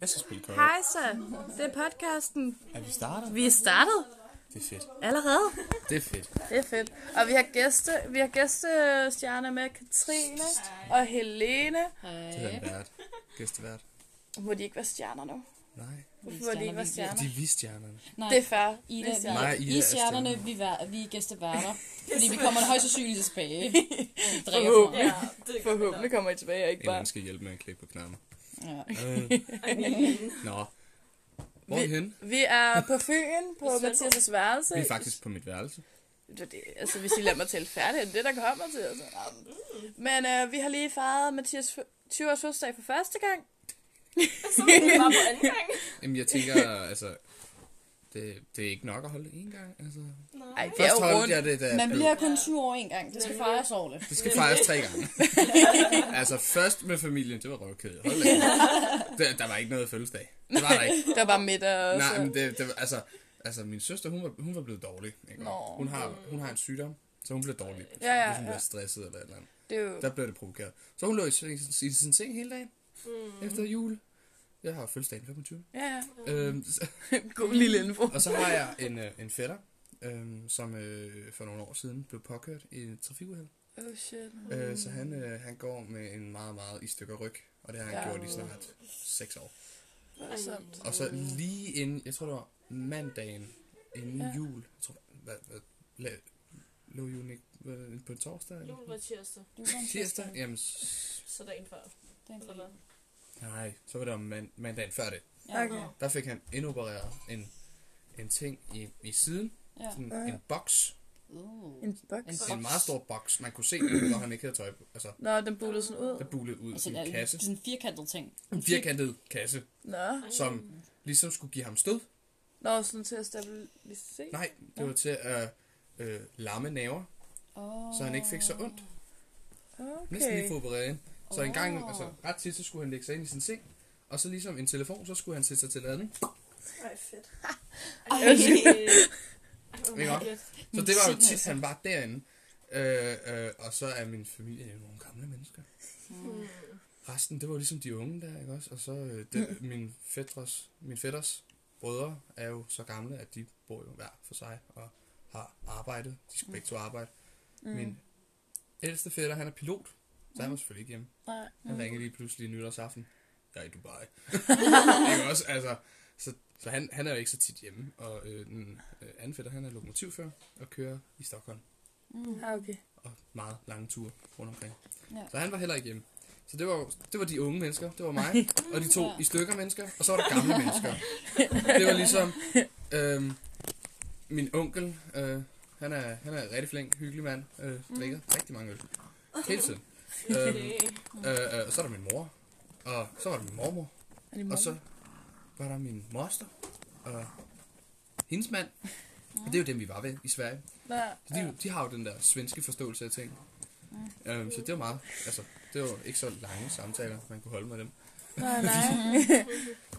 Jeg skal spille kort. Hej så, det er podcasten. Er vi startet? Vi er startet Det er fedt. allerede. Det er fedt. Det er fedt. Og vi har gæste, vi har gæstestjerner med Katrine og Helene. Det er en vært. Gæstevært. Må de ikke være stjerner nu? Nej. Hvorfor må de ikke være stjerner? De er visstjernerne. Det er fair. Ida, vi, Nej, Nej, Ida Ida I er stjernerne, stjernen. vi, vær, vi er gæsteværter. fordi vi kommer højst sandsynligt tilbage. Vi drikker for. Forhåbentlig. Forhåbentlig kommer I tilbage og ikke En eller bare... anden skal hjælpe med at klippe på knapper. Ja. Øh. Nå. Hvor er vi henne? Vi er på Fyn, på Mathias' værelse. Vi er faktisk på mit værelse. Det var det. Altså, hvis I lader mig tale færdigt, er det det, der kommer til. Altså. Nå, men- Men øh, vi har lige fejret Mathias fø- 20-års fødselsdag for første gang. Jamen, jeg tænker, altså... Det, det er ikke nok at holde det en gang, altså. Ej, det er Først jo holdt rundt. jeg det, da... Man bliver kun 20 år en gang. Det skal fejres årligt. Det skal fejres tre gange. altså, først med familien, det var røvkædet. Hold da. Der, der var ikke noget fødselsdag. Det var der ikke. Der var middag og Nej, så. men det, det, altså, altså min søster, hun var, hun var blevet dårlig. Ikke? Og Nå. Hun, har, hun har en sygdom, så hun blev dårlig. Ja, ja, Hvis hun ja. blev stresset eller et eller andet. Det er jo... Der blev det provokeret. Så hun lå i, sin- i sin seng hele dagen mm. efter jul. Jeg har fødselsdag den 25. Ja, ja. Øhm, så, God lille info. og så har jeg en, øh, en fætter, øhm, som øh, for nogle år siden blev påkørt i et trafikuheld. Oh shit. Mm. Øh, så han, øh, han går med en meget, meget i stykker ryg. Og det har han Ja. ja. gjort i snart 6 år. Voldsomt. Og så lige inden, jeg tror det var mandagen inden Ja. ja. jul, jeg tror, hvad, hvad, la, lå julen ikke var det på en torsdag? Eller? Jul var tirsdag, Du er en søster. Tirsdag? Jamen, s- så dagen før. Det er en Eller hvad? nej, så var det om mand, mandagen før det. Ja. Okay. Der fik han indopereret en, en ting i, i siden, Ja. sådan Ja. en boks. Uh. En boks. En- En meget stor boks, man kunne se, når han ikke havde tøj på. Altså, Nå, den bulede sådan ud. der bulede ud Altså, i det er en kasse. sådan en firkantet ting. En firkantet kasse, Nå. som ligesom skulle give ham stød. Nå, sådan til at stabilisere. Nej, det var til at øh, lamme naver, Oh. så han ikke fik så ondt. Næsten lige Okay. få opereret ind. Så en gang, Åh. altså ret tit, så skulle han lægge sig ind i sin seng. Og så ligesom en telefon, så skulle han sætte sig til ladning. Ej, fedt. Ej. Ikke Ej, Så det var jo Musikken, tit, altså. han var derinde. Øh, øh, og så er min familie jo nogle gamle mennesker. Resten, det var jo ligesom de unge der, ikke også? Og så øh, det, min, fætters, min fætters brødre er jo så gamle, at de bor jo hver for sig og har arbejdet. De skal begge to arbejde. Min ældste fætter, han er pilot, så han var selvfølgelig ikke hjemme. Nej. Han ringer lige pludselig nytårsaften. Jeg er i Dubai. ikke også? Altså, så, så han, han er jo ikke så tit hjemme. Og øh, den øh, anden fætter, han er lokomotivfører og kører i Stockholm. mm. Ah, okay. Og meget lange ture rundt omkring. Ja. Ja. Så han var heller ikke hjemme. Så det var, jo- det var de unge mennesker, det var mig, og de to i stykker mennesker, og så var der gamle mennesker. Det var ligesom øhm, min onkel, øh, han, er, han er en rigtig flink, hyggelig mand, øh, drikker rigtig mange øl. Hele tiden. Øhm, Øh, øh, og så er der min mor. Og så var der min mormor. Er det Og så var der min moster. Og hendes mand. Og det er jo dem, vi var ved i Sverige. Nej. Så de, de har jo den der svenske forståelse af ting. Øhm, så det var meget, altså, det var ikke så lange samtaler, man kunne holde med dem. Nej, nej.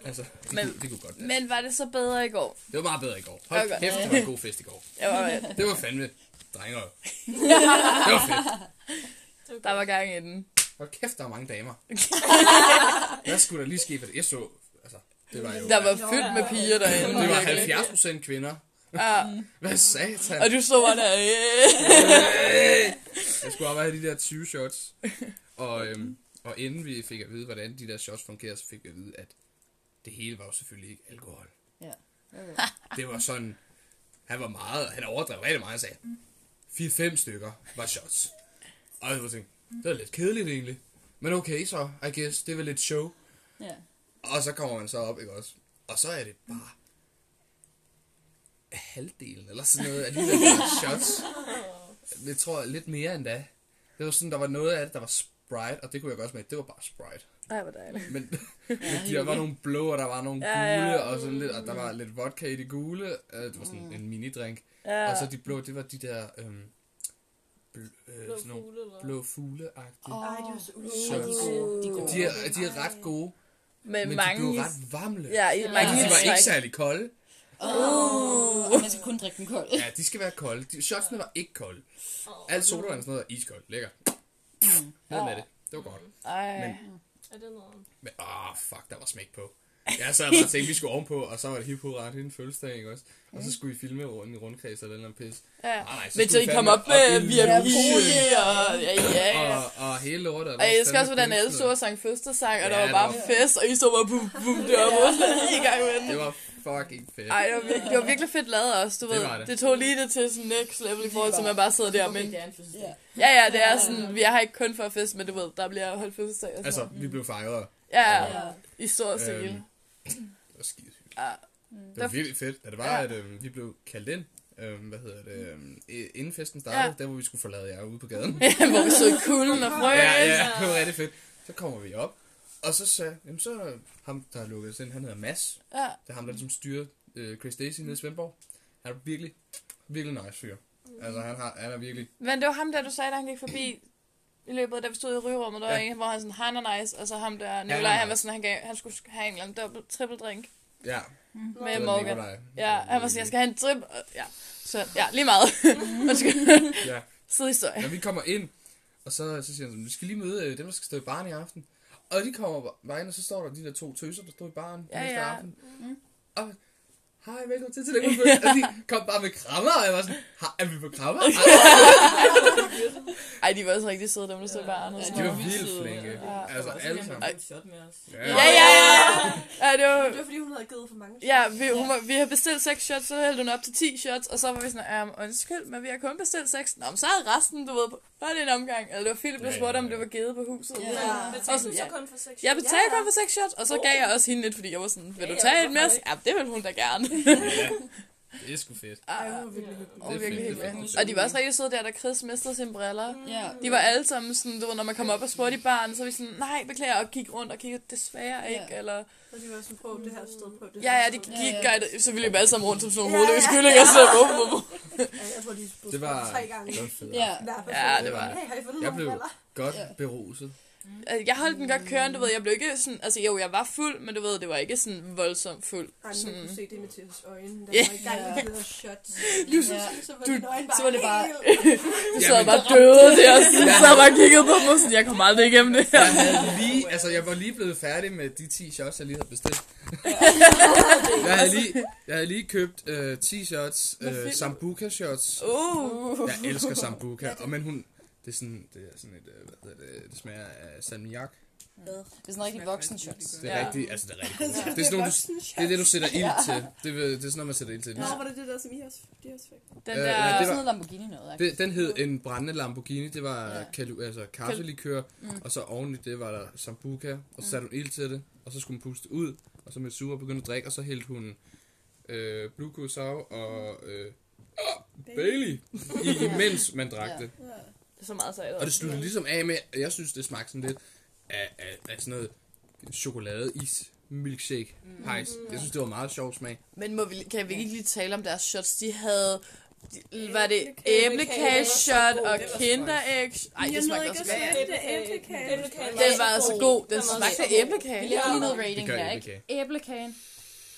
Altså, det, Men- men, kunne, det kunne godt være. Men var det så bedre i går? Det var meget bedre i går. Hold Okay. kæft, det var en god fest i går. Jeg var, Det var fandme drenger. Det var fedt. der var gang i den. Hold kæft, der var mange damer. Hvad skulle der lige ske for det? Jeg så, altså, det var jo... Der var fyldt med piger derinde. Det var virkelig. 70 procent kvinder. Ja. Hvad sagde han? Og du stod bare der. øh. Jeg skulle op og have de der 20 shots. Og, øhm, og inden vi fik at vide, hvordan de der shots fungerer, så fik vi at vide, at det hele var jo selvfølgelig ikke alkohol. Ja. Det var sådan... Han var meget... Han overdrev rigtig meget, han sagde. 4-5 stykker var shots. Og jeg tænkte, det var lidt kedeligt egentlig. Men okay så, I guess. Det var lidt show. Ja. Og så kommer man så op, ikke også? Og så er det bare halvdelen, eller sådan noget, af de der shots. Jeg tror lidt mere end da. Det var sådan, der var noget af det, der var Sprite, og det kunne jeg godt smage. Det var bare Sprite. Ej, hvor dejligt. Men ja, der var nogle blå, og der var nogle gule, Ja, ja, ja. ja. og sådan lidt, og der var lidt vodka i det gule. Øh, Det var sådan en minidrink. Ja. Og så de blå, det var de der øhm, bl- øh, Blå sådan nogle fugle, eller hvad? blå fugle-agtige. Åh, Ej, det var så Så- de er gode. De er gode. De, er, de er ret gode, Men, men, men Øh, mange... de blev ret varmle. Ja, i mange Og de var ikke hits- særlig kolde. Oh. Og man skal kun drikke den kold. Ja, de skal være kolde. De, shotsene var ikke kolde. Åh, Alt sodavand og sådan noget er iskoldt. Lækker. Ned med det. Det var godt. Ej. Men, Er det noget? men ah, fuck, der var smæk på. Jeg sad bare og tænkte, vi skulle ovenpå, og så var det hip ret hende fødselsdag, ikke også? Og så skulle vi filme rundt i rundkreds eller noget pis. Ja. Nej, nej, Ah, så Men så skulle I vi kom fandme op med op i- via Ja, poli og... Ja, ja, ja. Og, og hele lortet. Og jeg skal også, hvordan alle så og sang fødselsdagssang, Ja, og der var det bare var- fest, og I stod bare bum, bum, det var vores i gang med den. Det var fucking fedt. Ej, det var, virkelig, det var virkelig fedt lavet også, du Det ved. var det. Det tog lige det til sådan next level i forhold til, at man bare sidder der. Men Okay, det er en fødselsdag. Ja. ja, ja, det er sådan, vi er her ikke kun for at feste, men du ved, der bliver holdt fødselsdag og Altså, sådan noget. vi blev fejret. Ja, Ja. i stor stil. Øhm, Det var skide hyggeligt. Ja. Det var virkelig fedt. Da det var, Ja. at øhm, vi blev kaldt ind, øhm, hvad hedder det, øhm, i- inden festen startede, Ja. der hvor vi skulle forlade jer ude på gaden. Ja, hvor vi så i kulden og frøs. Ja, ja, det var rigtig fedt. Så kommer vi op, og så sagde, jamen så ham, der lukkede os ind, han hedder Mads. Ja. Det er ham, der ligesom styrer øh, Chris Daisy nede i Svendborg. Han er virkelig, virkelig nice fyr. Altså, han, har, han er virkelig... Men det var ham der, du sagde, at han gik forbi i løbet af, da vi stod i rygerummet, der var Ja. en, hvor han sådan, han er nice, og så ham der, er Nikolaj, han var nice. sådan, han, gav, han skulle have en eller anden dobbelt, triple drink Ja, med det er Morgan. Nikolaj. Ja, han var sådan, jeg skal have en trip, og- ja, så, ja, lige meget. Undskyld. Ja. Sid historie. Når vi kommer ind, og så, så siger han sådan, vi skal lige møde øh, dem, der skal stå i baren i aften. Og de kommer op vejen, og så står der de der to tøser, der står i baren Ja, ja, næste ja. Mm-hmm. ja. aften. Og hej, velkommen til Tillykke med Fødsel. Og de kom bare med krammer, og jeg var sådan, "Ha, er vi på krammer? Altså, Ej, Ej, de var også rigtig søde, dem der stod i baren. og Ja, sådan de var noget. vildt flinke. Altså, alle sammen. en shot med os. Ja, ja, ja. ja det var, Det var fordi, hun havde givet for mange. ja, vi, hun var, vi har bestilt seks shots, så hældte hun op til 10 shots, og så var vi sådan, ja, men undskyld, men vi har kun bestilt seks. Nå, men så er resten, du ved, bare det en omgang. Eller det var Philip, der Ja, spurgte, ja, om ja. det var givet på huset. Ja. Ja. Betalte Også- du så kun for seks? Jeg betalte kun for seks shots, og så gav jeg også hende lidt, fordi jeg var sådan, vil du Ja, ja, tage et med hvorfor os? Ja, det vil hun da gerne. Det er sgu fedt. Ej, Ja, hun var virkelig hyggelig. og fedt, virkelig det er hyggeligt. fedt. Og de var også rigtig søde der, da Chris mistede sine briller. Ja. De var alle sammen sådan, du ved, når man kom op og spurgte i baren, så var vi sådan, nej, beklager, og gik rundt og kiggede, desværre ikke, Ja. eller... Og de var sådan, prøv det her sted på. Det Ja, her ja, de sted på. gik guidet, så vi løb alle sammen rundt som sådan nogle Ja, hovedløse ja. kyllinger, så bum, bum, bum. Ja, jeg tror, de blev Det var, spurgt tre gange. det var fedt. Ja. I hvert fald Ja, sådan, det var- Hey, har I fundet Jeg nogle blev briller? godt Ja. beruset. Altså, Jeg holdt den godt kørende, du ved, jeg blev ikke sådan, altså jo, jeg var fuld, men du ved, det var ikke sådan voldsomt fuld. Ej, men man Sådan, kunne se det med Mathias øjne. Der Mm. Ja. var i gang med de der shots. du, Ja. Så var Du- dine øjne så var det bare- helt- du sad bare døde der, og sådan, sad bare og kiggede på mig, sådan, jeg kommer aldrig igennem det her. Jeg, havde lige, altså, jeg var lige blevet færdig med de 10 shots, jeg lige havde bestilt. Jeg havde lige, jeg havde lige købt øh, 10 shots, øh, sambuca shots. Uh. Jeg elsker sambuca, og men hun... Det er sådan, det er sådan et, øh, hvad hedder det, det smager af salmiak. Det er sådan rigtig voksen shots. Det er Ja. ja. rigtig, altså det er rigtig godt. Det er, sådan, nogle, du, det, er det, du sætter ild til. Det, vil- det er sådan noget, man sætter ild til. Nå, var det det der, som I også, de også fik? Den Øh, ja, der, Det det er var- sådan noget Lamborghini noget, ikke? Det, den hed en brændende Lamborghini, det var Ja. ja. kalu, altså kaffelikør, mm. og så oven i det var der sambuca, og så satte hun ild til det, og så skulle hun puste ud, og så med sure begyndte at drikke, og så hældte hun øh, Blue Curacao og øh, Bailey, i, imens man drak Ja. det. det er så meget sejt. Og det sluttede ligesom af med, at jeg synes, det smagte sådan lidt af, af, af sådan noget chokolade, is, milkshake, mm. hejs. Jeg synes, det var meget sjov smag. Men må vi, kan vi ikke lige tale om deres shots? De havde, de, var det Æblekage. æblekage-shot og Det var så godt. kinderæg? Ej, det smagte også godt. smage den. Den var altså god. Den smagte af Vi æblekage. laver lige noget Det rating gør her, æblekage. ikke? Æblekagen.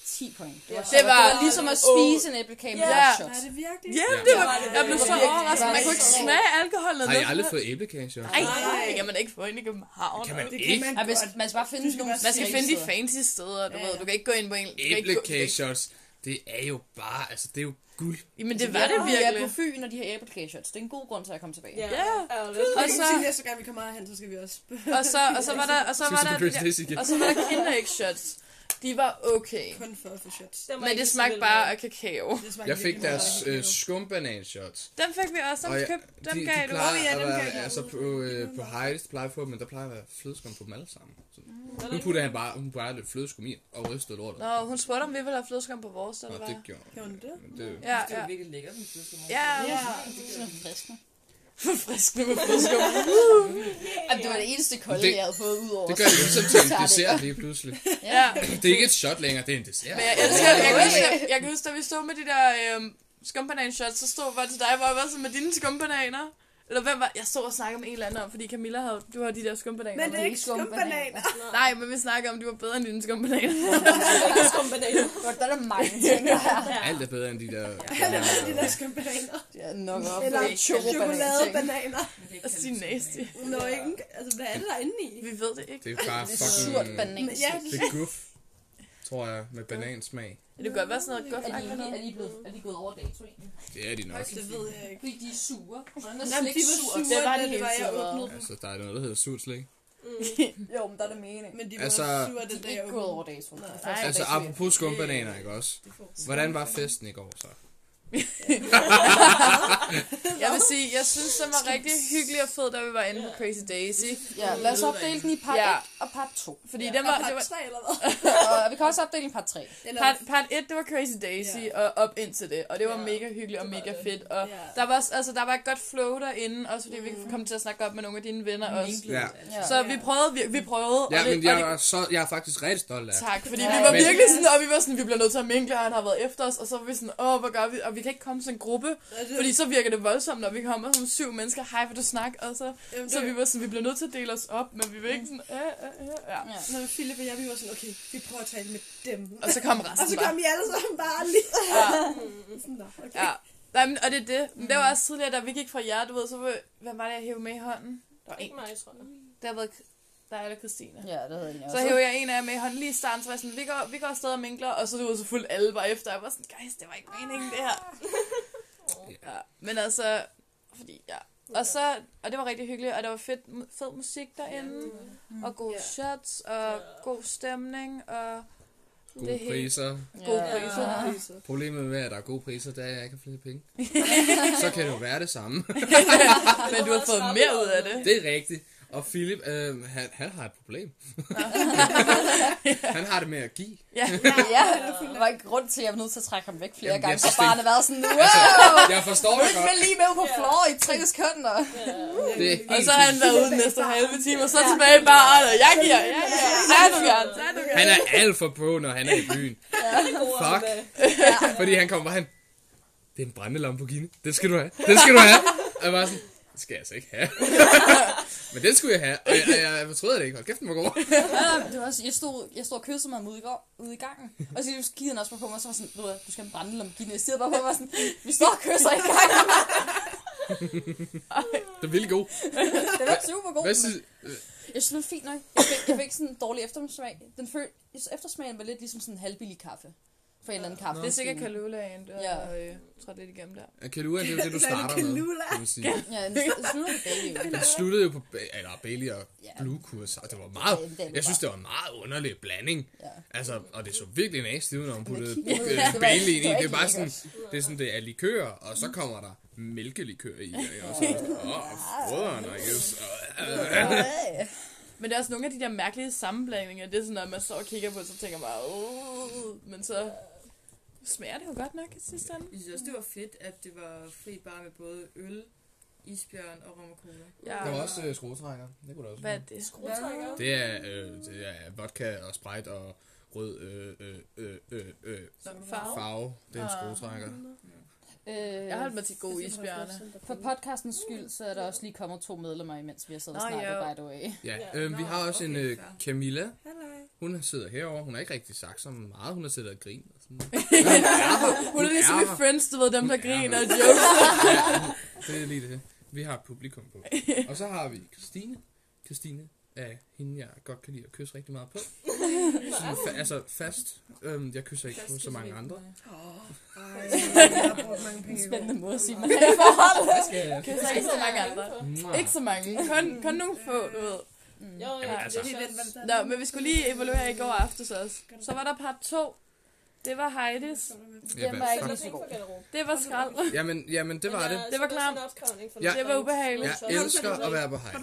10 point. Det var, Det det var var- ligesom at Åh. spise en æblekage med Ja. yeah. Er shots. det virkelig? Ja, Ja. det var, jeg blev Det så var virkelig- overrasket. Man kunne ikke det var- smage alkoholen. Har I aldrig fået æblekage? så? Ej, det kan man ikke få ind i København. Kan man Det ikke? kan Ej, man hvis, godt. man skal bare finde nogle Man skal finde de steder. fancy steder, du Ja, ved. ja. Du kan ikke gå ind på en... du kan ikke gå- Æblekage shots, det er jo bare, altså det er jo guld. Jamen, det var det Vi er på virkelig. Fyn, og de har æblekage shots. Det er en god grund til at komme tilbage. Ja. Og så, næste gang vi kommer herhen, så skal vi også... og så, og så var der, og så var Synes der, du, Chris Daisy igen? og så var der kinderæg shots. De var okay. Kun for at få shots. Men det smagte bare af kakao. Det smagte Jeg fik virkelig deres meget af øh, kakao. skumbanan-shots. Dem fik vi også. Dem, Og ja, køb, dem de, gav de du. plejer Åh, ja, at dem gav være, jeg dem. altså på, øh, på highest plejer at få, men der plejer at være flødeskum på dem alle sammen. Så. Mm, Nu putter han bare, hun bare lidt flødeskum i og rystede lortet. Nå, hun spurgte, om vi ville have flødeskum på vores, Nå, eller hvad? det gjorde Gjorde hun det? Men det, Ja, Det ja. var virkelig lækkert, den fødselsdag. Ja, Ja. Det er sådan friskende. forfriskende med flødeskum. Jamen, det var det eneste kolde, Det- jeg havde fået ud over. det gør det ligesom til en dessert lige pludselig. Ja. Det er ikke et shot længere, det er en dessert. Men jeg elsker, jeg kan huske, jeg, jeg kan huske, da vi stod med de der øhm, skumbanan-shots, så stod var til dig, hvor jeg var sådan med dine skumbananer. Eller hvem var, jeg stod og snakkede med en eller anden om, fordi Camilla havde, du har de der skumbananer. Men det er ikke ikke skumbananer. skumbananer. Nej, men vi snakker om, at de var bedre end dine skumbananer. Det er ikke skumbananer. Der er der mange ting, der er. Alt er bedre end de der... Det er skumbananer. Ja, nok op. Eller Det er chokobanan- ting. chokoladebananer. Og sige nasty. Nå, ikke? Altså, hvad er det der er inde i? Vi ved det ikke. Ah, Det er bare Det er surt fucking... banan. Men ja, Det er goof. tror jeg, med banansmag. Det kunne godt være sådan noget godt. Er de, eller egentlig, noget. er, de blevet, er de gået over dato egentlig? Det er de nok. Det ved jeg ikke. Fordi de er sure. Hvordan er Nej, men slik de surt? var sure, Det var de da det hele var, jeg tiden. åbnede dem. Altså, der er noget, der hedder surt slik. Jo, men der er det meningen. Men de var Altså, altså, sure, De den er dag jeg ikke gået åbnede over dato. Nej. Ej, Altså, apropos skumbananer, ikke også? dem. Hvordan var festen i går så? Jeg vil sige, jeg synes, den var rigtig hyggelig og fed, da vi var inde på Crazy Daisy. Ja, lad os opdele den i part Ja. 1 og part 2. Fordi den var, det Var var det tre eller hvad? Og vi kan også opdele en part 3. Eller, Part, part 1, det var Crazy Daisy, Ja. yeah. og op indtil det, og det var Ja, yeah. mega hyggeligt og det var mega det. fedt, og Ja. der var, også- altså, der var et godt flow derinde, også fordi mm. vi kom til at snakke op med nogle af dine venner også. Ja. Ja. Så vi prøvede, vi, vi prøvede, Ja, og det, men og jeg det, er, så, jeg er faktisk rigtig stolt af. tak, fordi Ja, vi var men- virkelig sådan, og vi var sådan, vi bliver nødt til at minkle, og han har været efter os, og så var vi sådan, åh, hvad gør vi, og vi kan ikke komme som en gruppe, fordi så virker det voldsomt, når vi kommer som syv mennesker, hej, vil du snakke, og så, Jamen, så vi var sådan, vi bliver nødt til at dele os op, men vi vil ikke sådan, øh, øh, øh, ja. Ja. Når Philip og jeg, vi var sådan, okay, vi prøver at tale med dem. Og så kom Og så resten kom bare. I alle sammen bare lige. Ja. Sådan, nå, okay. Ja. Nej, men, og det er det. Men det var også tidligere, da vi gik fra jer, du ved, så var, hvad var det, jeg hævde med i hånden? Der var en. Ikke mig, tror jeg. Der har været dig eller Christina. Ja. Ja, det havde jeg Så hævde jeg en af jer med i hånden lige i starten, så var jeg sådan, vi går, vi går afsted og minkler, og så du ved, så fuldt alle bare efter. Jeg var sådan, guys, det var ikke meningen, det her. Ja. Men altså, fordi, ja. Og så, og det var rigtig hyggeligt, og der var fedt, fed musik derinde, og gode Ja. shots, og god stemning, og Gode hele- priser. gode Ja. priser. Problemet med, at der er gode priser, det er, at jeg ikke har flere penge. så kan det jo være det samme. Men du har fået mere ud af det. Det er rigtigt. Og Philip, øh, han, han har et problem. han har det med at give. Ja. Ja, der var ikke grund til, at jeg var nødt til at trække ham væk flere Jamen, jeg gange, så synes, det- barnet har været sådan, Altså, wow, jeg forstår det ikke godt. med lige med på floor i tre sekunder. Det er Og helt så har han været ude den næste halve time, og så tilbage i baren, og jeg giver, jeg giver, så er du gerne, så er du vildt. gerne. han er alt for på, når han er i byen. Fuck. Fordi han kommer, han... Det er en brændende Lamborghini. Det skal du have. Det skal du have. Og jeg var sådan, det skal jeg altså ikke have. Men den skulle jeg have. Og jeg, jeg, jeg fortryder det ikke. Hold kæft, den var god. Ja, det var også, jeg stod, jeg stod og kyssede mig ude i, går, ude i gangen, og så kiggede han også bare på mig, og så var sådan, ved du, hvad, du skal have en brænde lamborghini. Jeg stirrede bare på mig og var sådan, vi står og kysser i gangen. Den er vildt god. Den var super god. Hvad synes... Jeg synes, den var fint nok. Jeg fik, jeg fik sådan en dårlig eftersmag. Den føl, jeg synes, eftersmagen var lidt ligesom sådan en halvbillig kaffe. For en eller Ah, anden kaffe. Det er sikkert kalulaen, der Ja. ja. øh, trådte lidt igennem der. Kalua, det er jo det, du Så er det starter med. Kalula. Kan man sige. Ja, en, en snuller baby. Den sluttede jo på Ba- eller Bailey og Ja. Blue Kurs, og det var Ja, det meget, var jeg synes, det var en meget underlig blanding. Ja. Altså, og det så virkelig nasty ud, når hun puttede kigge ud. øh, Ja, det var- Bailey ind i. det var Det er ikke bare sådan, det er sådan, det er likør, og så kommer der mælkelikør i. ikke? Og så er det sådan, åh, frøderen, I guess. Og, øh, Men der er også nogle af de der mærkelige sammenblandinger, det er sådan, når man står og kigger på, så tænker man bare, "Åh," men så smager det jo godt nok i sidste ende. Jeg synes også, det var fedt, at det var fri bar med både øl, isbjørn og rom og cola. Ja. Der var også øh, skruetrækker. Det kunne der også Hvad være. er det? Det er, øh, det er vodka og Sprite og rød øh, øh, øh, øh, øh, Nå, farve. farve. Det er en skruetrækker. Øh, Jeg holdt mig til gode isbjørne. For podcastens skyld, så er der også lige kommet to medlemmer, imens vi har siddet og Nå, snakket, ja. by the way. Ja, øh, vi har også en øh, Camilla. Hallo. Hun sidder herover. Hun har ikke rigtig sagt så meget. Hun har siddet og grinet. og Sådan. Hun er ligesom i her. Friends, du ved, dem der Hun er griner her. og jokes. Det er lige det. Vi har publikum på. Og så har vi Christine. Christine er hende, jeg godt kan lide at kysse rigtig meget på. Sådan, fa- altså fast. Øhm, jeg kysser ikke på så mange andre. Ej, jeg har brugt mange penge i går. Spændende måde at sige, man er i forhold. Der er ikke så mange andre. Ikke så mange. Kun, kun nogle få, du ved. Jo, Jamen, ja, altså. det er den, der Nå, men vi skulle lige evaluere i går aftes også. Så var der part 2. Det var Heidis. Ja, Den hvad var ikke fuck? lige så god. Det var skrald. Jamen, jamen, det var det. Det var klam. Ja. Det var ubehageligt. Jeg elsker at være på hej.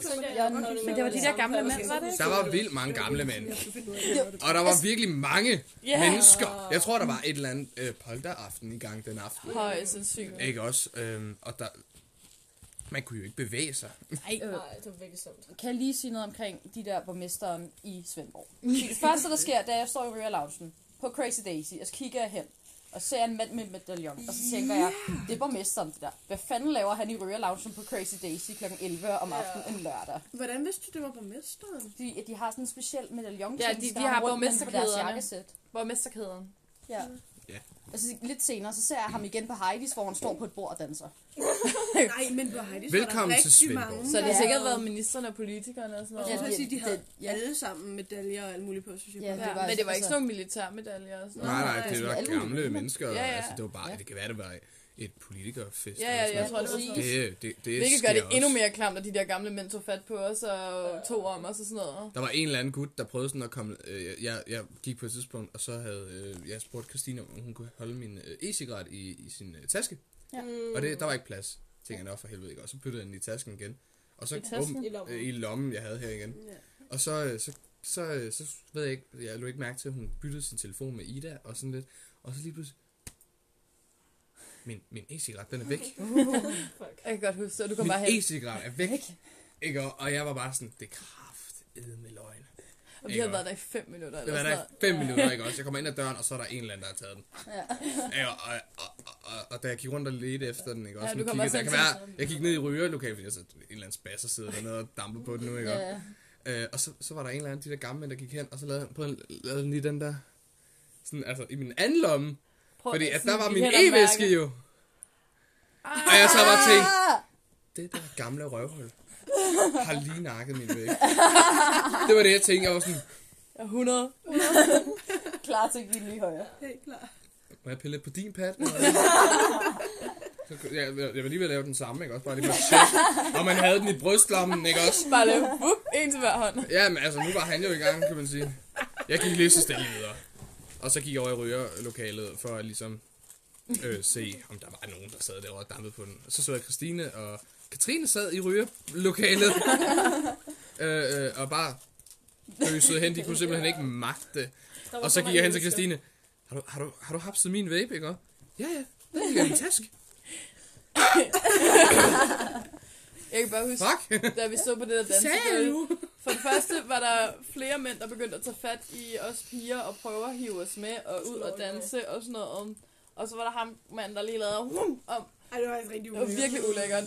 Men det var de der gamle mænd, var det ikke? Der var vildt mange gamle mænd. Jeg skulle finde ud af, hvad det var, det Og der var virkelig mange Ja. mennesker. Jeg tror, der var et eller andet øh, polteraften i gang den aften. Højst sandsynligt. Ikke også? Øhm, og der... Man kunne jo ikke bevæge sig. Nej, det var virkelig slemt. Kan jeg lige sige noget omkring de der borgmesteren i Svendborg? Mm. Det første, der sker, da jeg står i Røa Loungen på Crazy Daisy, og så kigger jeg hen, og ser en mand med en medaljon, og så tænker jeg, det er borgmesteren det der. Hvad fanden laver han i Røa Loungen på Crazy Daisy kl. 11 om aftenen en lørdag? var. Hvordan vidste du, det var borgmesteren? De, de har sådan en speciel medaljon, Ja, de- de har borgmesteren på deres borgmesterkæderne. jakkesæt. Borgmesterkæden. Ja. Ja. Og så lidt senere, så ser jeg ham igen på Heidi's, hvor han står på et bord og danser. Nej, men på Heidi Velkommen til Svendborg. Så det har Ja. sikkert været ministerne og politikerne og sådan Jeg noget. skulle Ja, også sige, de det- havde ja. alle sammen medaljer og alt muligt på, synes jeg. Ja, Ja. Ja, det var- men det var ikke altså- sådan nogle militærmedaljer og sådan noget. Nej, nej, det var Alle gamle mulige. mennesker. Ja, Ja, ja. ja. Altså, det var bare, det kan være, det var et politikerfest. Ja, ja, eller jeg sådan tror, det var Præcis. sådan. noget. Det, det, det Hvilket sker gør det også. endnu mere klamt, at de der gamle mænd tog fat på os og tog om os og sådan noget. Der var en eller anden gut, der prøvede sådan at komme... Øh, jeg, jeg gik på et tidspunkt, og så havde øh, jeg spurgt Christine, om hun kunne holde min øh, e-cigaret i, i sin øh, taske. Ja. Og det, der var ikke plads. Tænkte jeg, nå for helvede ikke. Og så byttede jeg den i tasken igen. Og så I tasken? åben- I lommen. øh, i lommen, jeg havde her igen. Og så, øh, så, så, øh, så ved jeg ikke, jeg lå ikke mærke til, at hun byttede sin telefon med Ida og sådan lidt. Og så lige pludselig... Min, min e-cigaret, den er væk. Fuck. Jeg kan godt huske, at du kom bare Min hen. e-cigaret er væk. Ikke? Og- Og jeg var bare sådan, det er kraft med løgn. Og vi havde været der i fem minutter Det eller var sådan der noget. i fem minutter, ikke også? Jeg kommer ind ad døren, og så er der en eller anden, der har taget den. Ja. Ja, og, og, og, og, og, da jeg gik rundt og ledte efter den, ikke også? Ja, Ja, du du kom kiggede, også der kan til at være, jeg gik ned i rygerlokalet, fordi jeg så en eller anden spasser sidder dernede og damper på den nu, ikke? Ja. Øh, og så, så var der en eller anden, de der gamle mænd, der gik hen, og så lavede han, prøvede, han- lavede han lige den der, sådan, altså i min anden lomme, Prøv fordi at at sådan, der var vi min kan da e-væske mærke- jo. Og jeg så Ah! bare tænkte, det der gamle røvhul har lige nakket min væg. Det var det, jeg tænkte. Jeg var sådan, Ja, 100. Klar til at give den lige højere. Helt klart. må jeg pille lidt på din pat? eller hvad? Så, kunne- jeg, jeg, jeg var lige ved at lave den samme, ikke også? Bare lige for shit. Og man havde den i brystlommen, ikke også? Bare lave wup, en til hver hånd. Ja, men altså, nu var han jo i gang, kan man sige. Jeg gik lige så stille videre. Og så gik jeg over i rygerlokalet for at ligesom øh, se, om der var nogen, der sad derovre og dampede på den. Og så så jeg Christine og Katrine sad i rygerlokalet. øh, øh, og bare øsede hen. De kunne simpelthen ikke magte det. Der var Og så mange gik jeg hen til mennesker. Christine. Har du, har du, har du hapset min vape, ikke? Og, Ja, ja. Det ligger i min taske. Jeg kan bare huske, Fuck. da vi stod på det der dansegulv. For det første var der flere mænd, der begyndte at tage fat i os piger og prøve at hive os med og ud og danse og sådan noget. Og så var der ham mand, der lige lavede hum om. Ej, det var faktisk rigtig Det var ulækkert. virkelig ulækkert.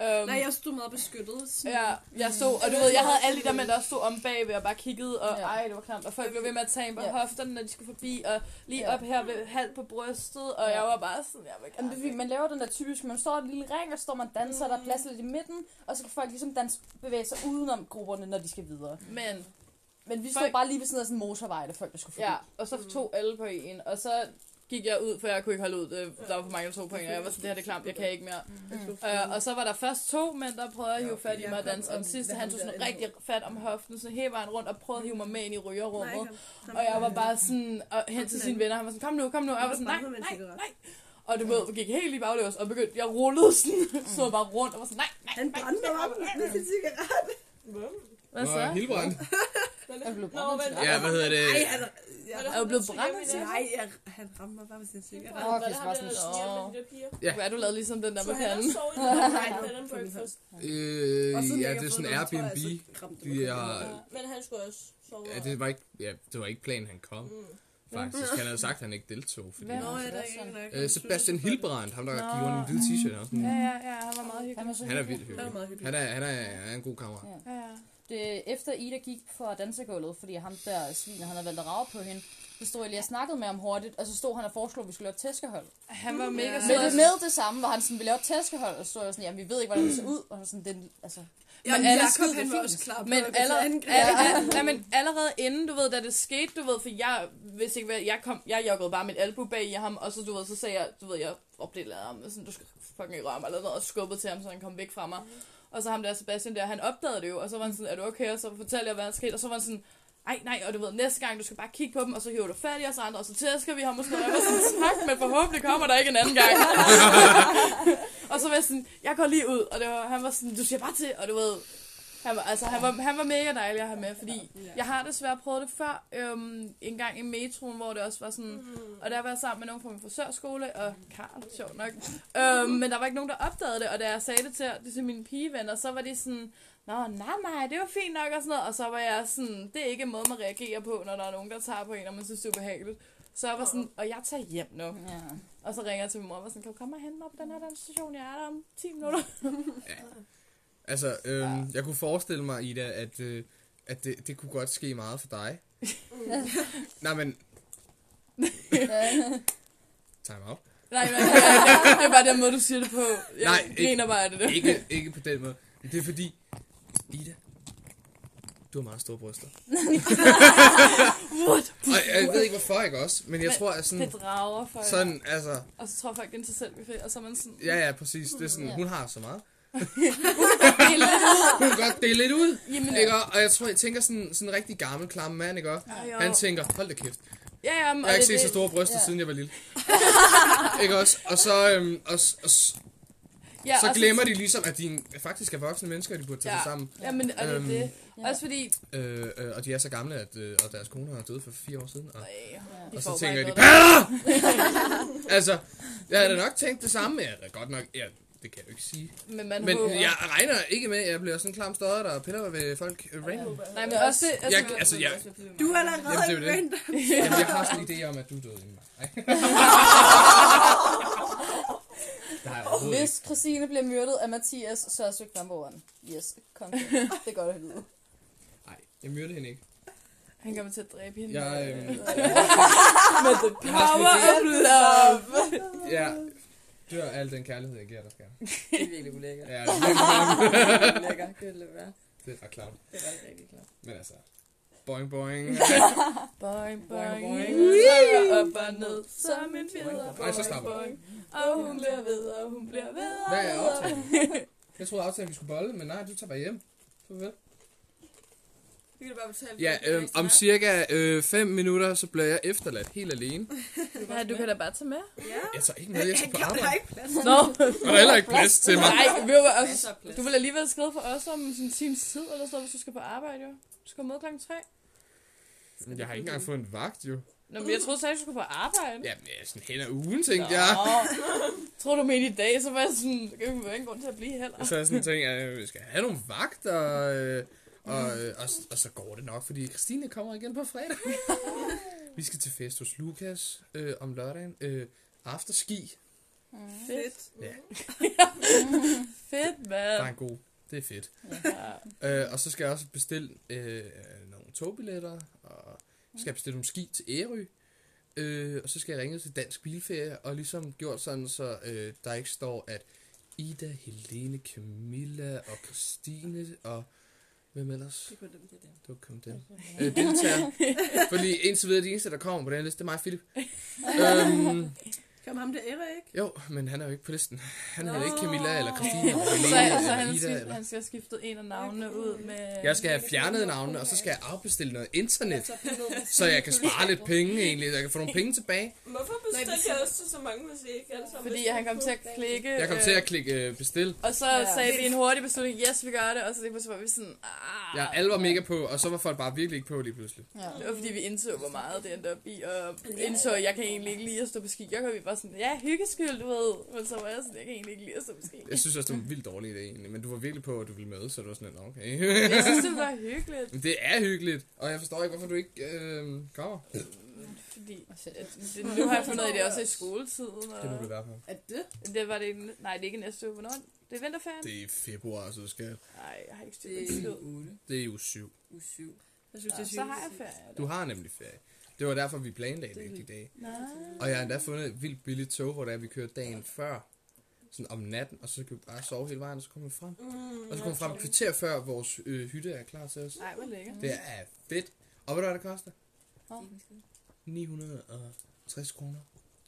Um, Nej, jeg stod meget beskyttet. Sådan. Ja, jeg stod, og du ved, jeg havde alle de der mænd, der også stod om bagved og bare kiggede, og Ja. ej, det var klamt, og folk blev ved med at tage ind på Ja. hofterne, når de skulle forbi, og lige Ja. op her ved halvt på brystet, og Ja. jeg var bare sådan, jeg var Jamen, det er fordi, man laver den der typisk, man står i en lille ring, og så står man og danser, og der er plads lidt i midten, og så kan folk ligesom danse, bevæge sig udenom grupperne, når de skal videre. Men, Men vi stod Folk- bare lige ved siden af sådan en motorvej, der folk der skulle forbi. ja, og Mm. så tog alle på en, og så gik jeg ud, for jeg kunne ikke holde ud, det- der var for mange, der tog på en, og jeg var sådan, det her det er klamt, jeg kan ikke Mm. mere. Øh, og så var der først to mænd, der prøvede at hive fat i mig og danse, og den sidste, han tog sådan rigtig fat om hoften, så hele vejen rundt og prøvede at hive mig med ind i rygerrummet. Og jeg var bare sådan, og hen til sine venner, han var sådan, kom nu, kom nu, og jeg var sådan, nej, nej, nej. Og du ved, gik helt i bagløs, og begyndte, jeg rullede sådan, så bare rundt, og var sådan, nej, nej, Han nej, brændte mig op med sin cigaret. Hvad? Hvad så? Og Hilbrand. Jeg blev Nå, men... Ja, hvad hedder det? Ej, han... Jeg, Var det Er du blevet brændt? ham, der tog hjem i nej, jeg, han ramte mig bare med sin cigaret. dag? Åh, Var det okay, så ham, var der sådan, sniger med de der piger? Ja. Hvad er du lavet ligesom den der Så med han panden? også sov i den der bed and breakfast. Øh, Og siden ja, jeg det er sådan har fået den, tror jeg, Airbnb. så kramte De mig. har Men han skulle også sove. Ja, det var ikke, ja, det var ikke planen, han kom. Mm. Faktisk. Han havde sagt, at han ikke deltog. Fordi, Hvem? Nå, ja, det er Sebastian. ikke nok. øh, Sebastian Hilbrand, ham der Nå. giver en hvide t-shirt. Han er, sådan, Ja, ja, ja, han var meget Han hyggelig. var så han er hyggelig. vildt Han er hyggelig. meget hyggelig. Han er, han er, han er en god kammerat. Ja. Ja, ja. Det, efter Ida gik fra dansegulvet, fordi ham der svin, han havde valgt at rave på hende, så stod jeg lige og snakkede med ham hurtigt, og så stod han og foreslog, at vi skulle lave et tæskehold. Han var mega Men det sød. med det samme, hvor han sådan, vi laver et tæskehold, og så stod jeg sådan, jamen vi ved ikke, hvordan det ser ud, og han sådan, den, altså, Ja, Men men alle Jacob, skide han var fint. også klar på Men at gå til allerede, angreb. allerede, ja, men allerede inden, du ved, da det skete, du ved, for jeg, hvis ikke, hvad, jeg kom, jeg joggede bare mit albu bag i ham, og så, du ved, så sagde jeg, du ved, jeg opdelede ham, og sådan, du skal fucking ikke røre mig, eller noget, og skubbede til ham, så han kom væk fra mig. Og så ham der Sebastian der, han opdagede det jo, og så var han sådan, er du okay? Og så fortalte jeg, hvad der skete, og så var han sådan, ej, nej, og du ved, næste gang, du skal bare kigge på dem, og så hiver du fat i os andre, og så tæsker vi ham, og sådan noget. Jeg var sådan, tak, men forhåbentlig kommer der ikke en anden gang. og så var jeg sådan, jeg går lige ud, og det var, han var sådan, du siger bare til, og du ved, han var, altså, han var, han var mega dejlig at have med, fordi jeg har desværre prøvet det før, øhm, en gang i metroen, hvor det også var sådan, og der var jeg sammen med nogen fra min frisørskole, og Karl, sjovt nok, øhm, men der var ikke nogen, der opdagede det, og da jeg sagde det til, det til mine pigevenner, så var de sådan, Nå, nej, nej, det var fint nok og sådan noget. Og så var jeg sådan, det er ikke en måde, man reagerer på, når der er nogen, der tager på en, og man synes, det er ubehageligt. Så jeg var sådan, og jeg tager hjem nu. ja. Og så ringer jeg til min mor og var sådan, kan du komme og hente mig på den her demonstration? Jeg er der om 10 minutter. Altså, øhm, jeg kunne forestille mig, Ida, at, øh, at det, det kunne godt ske meget for dig. Nej, men Time out. Nej, nej, nej, nej, det er bare den måde, du siger det på. Jeg Nej, nej, ikke- griner bare af det der. Ikke, ikke på den måde. Men det er fordi, Ida, du har meget store bryster. What? Og jeg ved ikke hvorfor, ikke også? Men jeg Men tror, at sådan, Det drager for sådan. sådan, altså, Og så tror folk, det er en sig selv buffet, og så er man sådan... ja, ja, præcis. Det er sådan, Ja. hun har så meget. Hele Hun kan godt dele lidt ud, Jamen, ikke? Og- Og jeg tror, jeg tænker sådan, sådan en rigtig gammel, klam mand, ikke? også? Ej, jo. Han tænker, hold da kæft. Ja, ja, men, Jeg har ikke set så det, store bryster, ja. siden jeg var lille. ikke også? Og så, øhm, og, s- og, s- ja, så og glemmer de ligesom, at de en- faktisk er voksne mennesker, og de burde tage Ja. sig sammen. Ja, men og det er Øhm. det. Ja. Også fordi... Øh, øh, og de er så gamle, at, øh, og deres koner er døde for fire år siden. Og, Øh, Ja. de og får så bare tænker jeg, ikke de, noget altså, jeg havde da nok tænkt det samme, men jeg havde da godt nok, ja, det kan jeg jo ikke sige. der- Men man Men håber. jeg regner ikke med, at jeg bliver sådan en klam stodder, der piller ved folk øh, random. Nej, men også det... Altså, Jeg, altså, jeg, Du er allerede Jamen, det er jo det. random. jamen, jeg har sådan en idé om, at du er død inden mig. Ej. Det har jeg overhovedet ikke. Hvis Christine bliver myrdet af Mathias, så er søgt number one. Yes, kom. Det er godt at lyde. Nej, jeg myrdede hende ikke. han kommer til at dræbe hende. Jeg, øh, Med the power of love. Ja, dør af al den kærlighed, jeg giver dig, skal. Det er virkelig ulækkert. Ja, det er Ulækkert, det ville være. det er ret klart. Det var ikke rigtig klart. Men altså, boing boing. Boing, boing. boing. Løkker op og ned som en fjeder. Ej, så slap af. Og hun bliver ved, og hun bliver ved, og Hvad er ved, og aftalen? Jeg troede aftalen, vi skulle bolle, men nej, du tager bare hjem. Farvel. Vi kan bare betale. Ja, øh, om cirka 5 øh, minutter, så bliver jeg efterladt helt alene. Nej, du kan da bare tage med. Ja. Jeg tager ikke med, jeg tager på arbejde. Nå, Og der er heller ikke plads til mig. nej, vi var også... Masser af plads. Du vil alligevel skrive for os om sådan en times tid, eller sådan noget, hvis du skal på arbejde, jo. Du skal med klokken tre. Men Jeg har ikke engang fået en vagt, jo. Nå, men jeg troede sagde, du skulle på arbejde. Jamen, jeg er sådan hen ad ugen, tænkte jeg. Nå. Tror du mente i dag, så var jeg sådan, der kan vi jo ingen grund til at blive heller. Og så er jeg sådan tænkt, at øh, vi skal have nogle vagter, øh, og, øh, og, og så går det nok, fordi Christine kommer igen på fredag. vi skal til fest hos Lukas øh, om lørdagen. Øh, afterski. Fedt, Ja, fedt, der er mand. en god. Det er fedt. Ja. Øh, og så skal jeg også bestille øh, øh, nogle togbilletter, og så skal jeg bestille nogle ski til Ærø. Øh, og så skal jeg ringe til Dansk Bilferie, og ligesom gjort sådan, så øh, der ikke står, at Ida, Helene, Camilla og Christine og hvem ellers? Det kunne dem, det der. Du kom den. Øh, deltager. Fordi indtil videre, de eneste, der kommer på den her liste, det er mig og Philip. øhm, Kom ham der ære, ikke? jo, men han er jo ikke på listen. Han hedder Nå. ikke Camilla eller Christina eller Så, Helene eller så han, Ida. skift, Eller... han skal have skiftet en af navnene ud med... Jeg skal have fjernet navnene, og så skal jeg afbestille noget internet, så jeg kan spare lidt penge egentlig. Jeg kan få nogle penge tilbage. Hvorfor bestilte jeg også til så mange, hvis I ikke alle sammen Fordi vidste, han kom til at hvad klikke... Jeg kom øh, til at klikke øh, bestil. Og så Ja. sagde vi en hurtig beslutning, yes, vi gør det, og så lige pludselig var vi sådan, ah... Jeg er alvor mega på, og så var folk bare virkelig ikke på lige pludselig. Ja. Det var fordi, vi indså, hvor meget det endte op i, og indså, at jeg kan egentlig ikke lide at stå på ski. Jeg kan vi bare sådan, ja, hyggeskyld, du ved. Men så var jeg sådan, jeg kan egentlig ikke lide at stå på ski. Jeg synes også, det var en vildt dårlig idé egentlig, men du var virkelig på, at du ville med, så det var sådan lidt, "Nå, okay. Jeg synes, det var hyggeligt, Men det er hyggeligt, og jeg forstår ikke, hvorfor du ikke øh, kommer. fordi at det, nu har jeg fundet ud af, at det er også i skoletiden. Det må du Og, være på. Er det? det var det, ikke- nej, det er ikke næste uge. Hvornår? er det? Det er vinterferien? Det er i februar, så skal Nej, jeg har ikke styr Det på er tid. uge 8, Det er jo syv. uge 7. Jeg synes, Ja, det er så har jeg sygt. ferie. Du har nemlig ferie. Det var derfor, vi planlagde det i dag. Og jeg har endda fundet et vildt billigt tog, hvor det er, vi kører dagen før. Sådan om natten, og så kan vi bare sove hele vejen, og så kommer vi frem. Og så kommer vi frem et kvarter før, vores øh, hytte er klar til os. Nej, hvor lækkert. Det er fedt. Og ved du, hvad det koster? Åh. 960 kroner.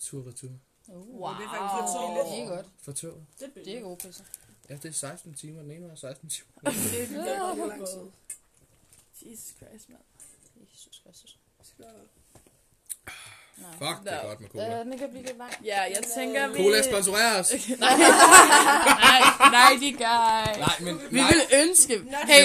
Tur retur. Oh, Wow. Wow. Det er faktisk lidt billigt. Det er godt. For toget. Det er Det er billigt. gode priser. Ja, det er 16 timer den ene vej, og 16 timer. Det Ja, er godt det nok er lang tid. Jesus Christ, mand. Jesus Kristus. Nej. Fuck, det er godt med cola. Øh, den kan blive lidt lang. Ja, jeg tænker, vi... Cola sponsorerer os. nej, nej, nej, de gør. Nej, men Vi nej. vil ønske... Nå, Hey,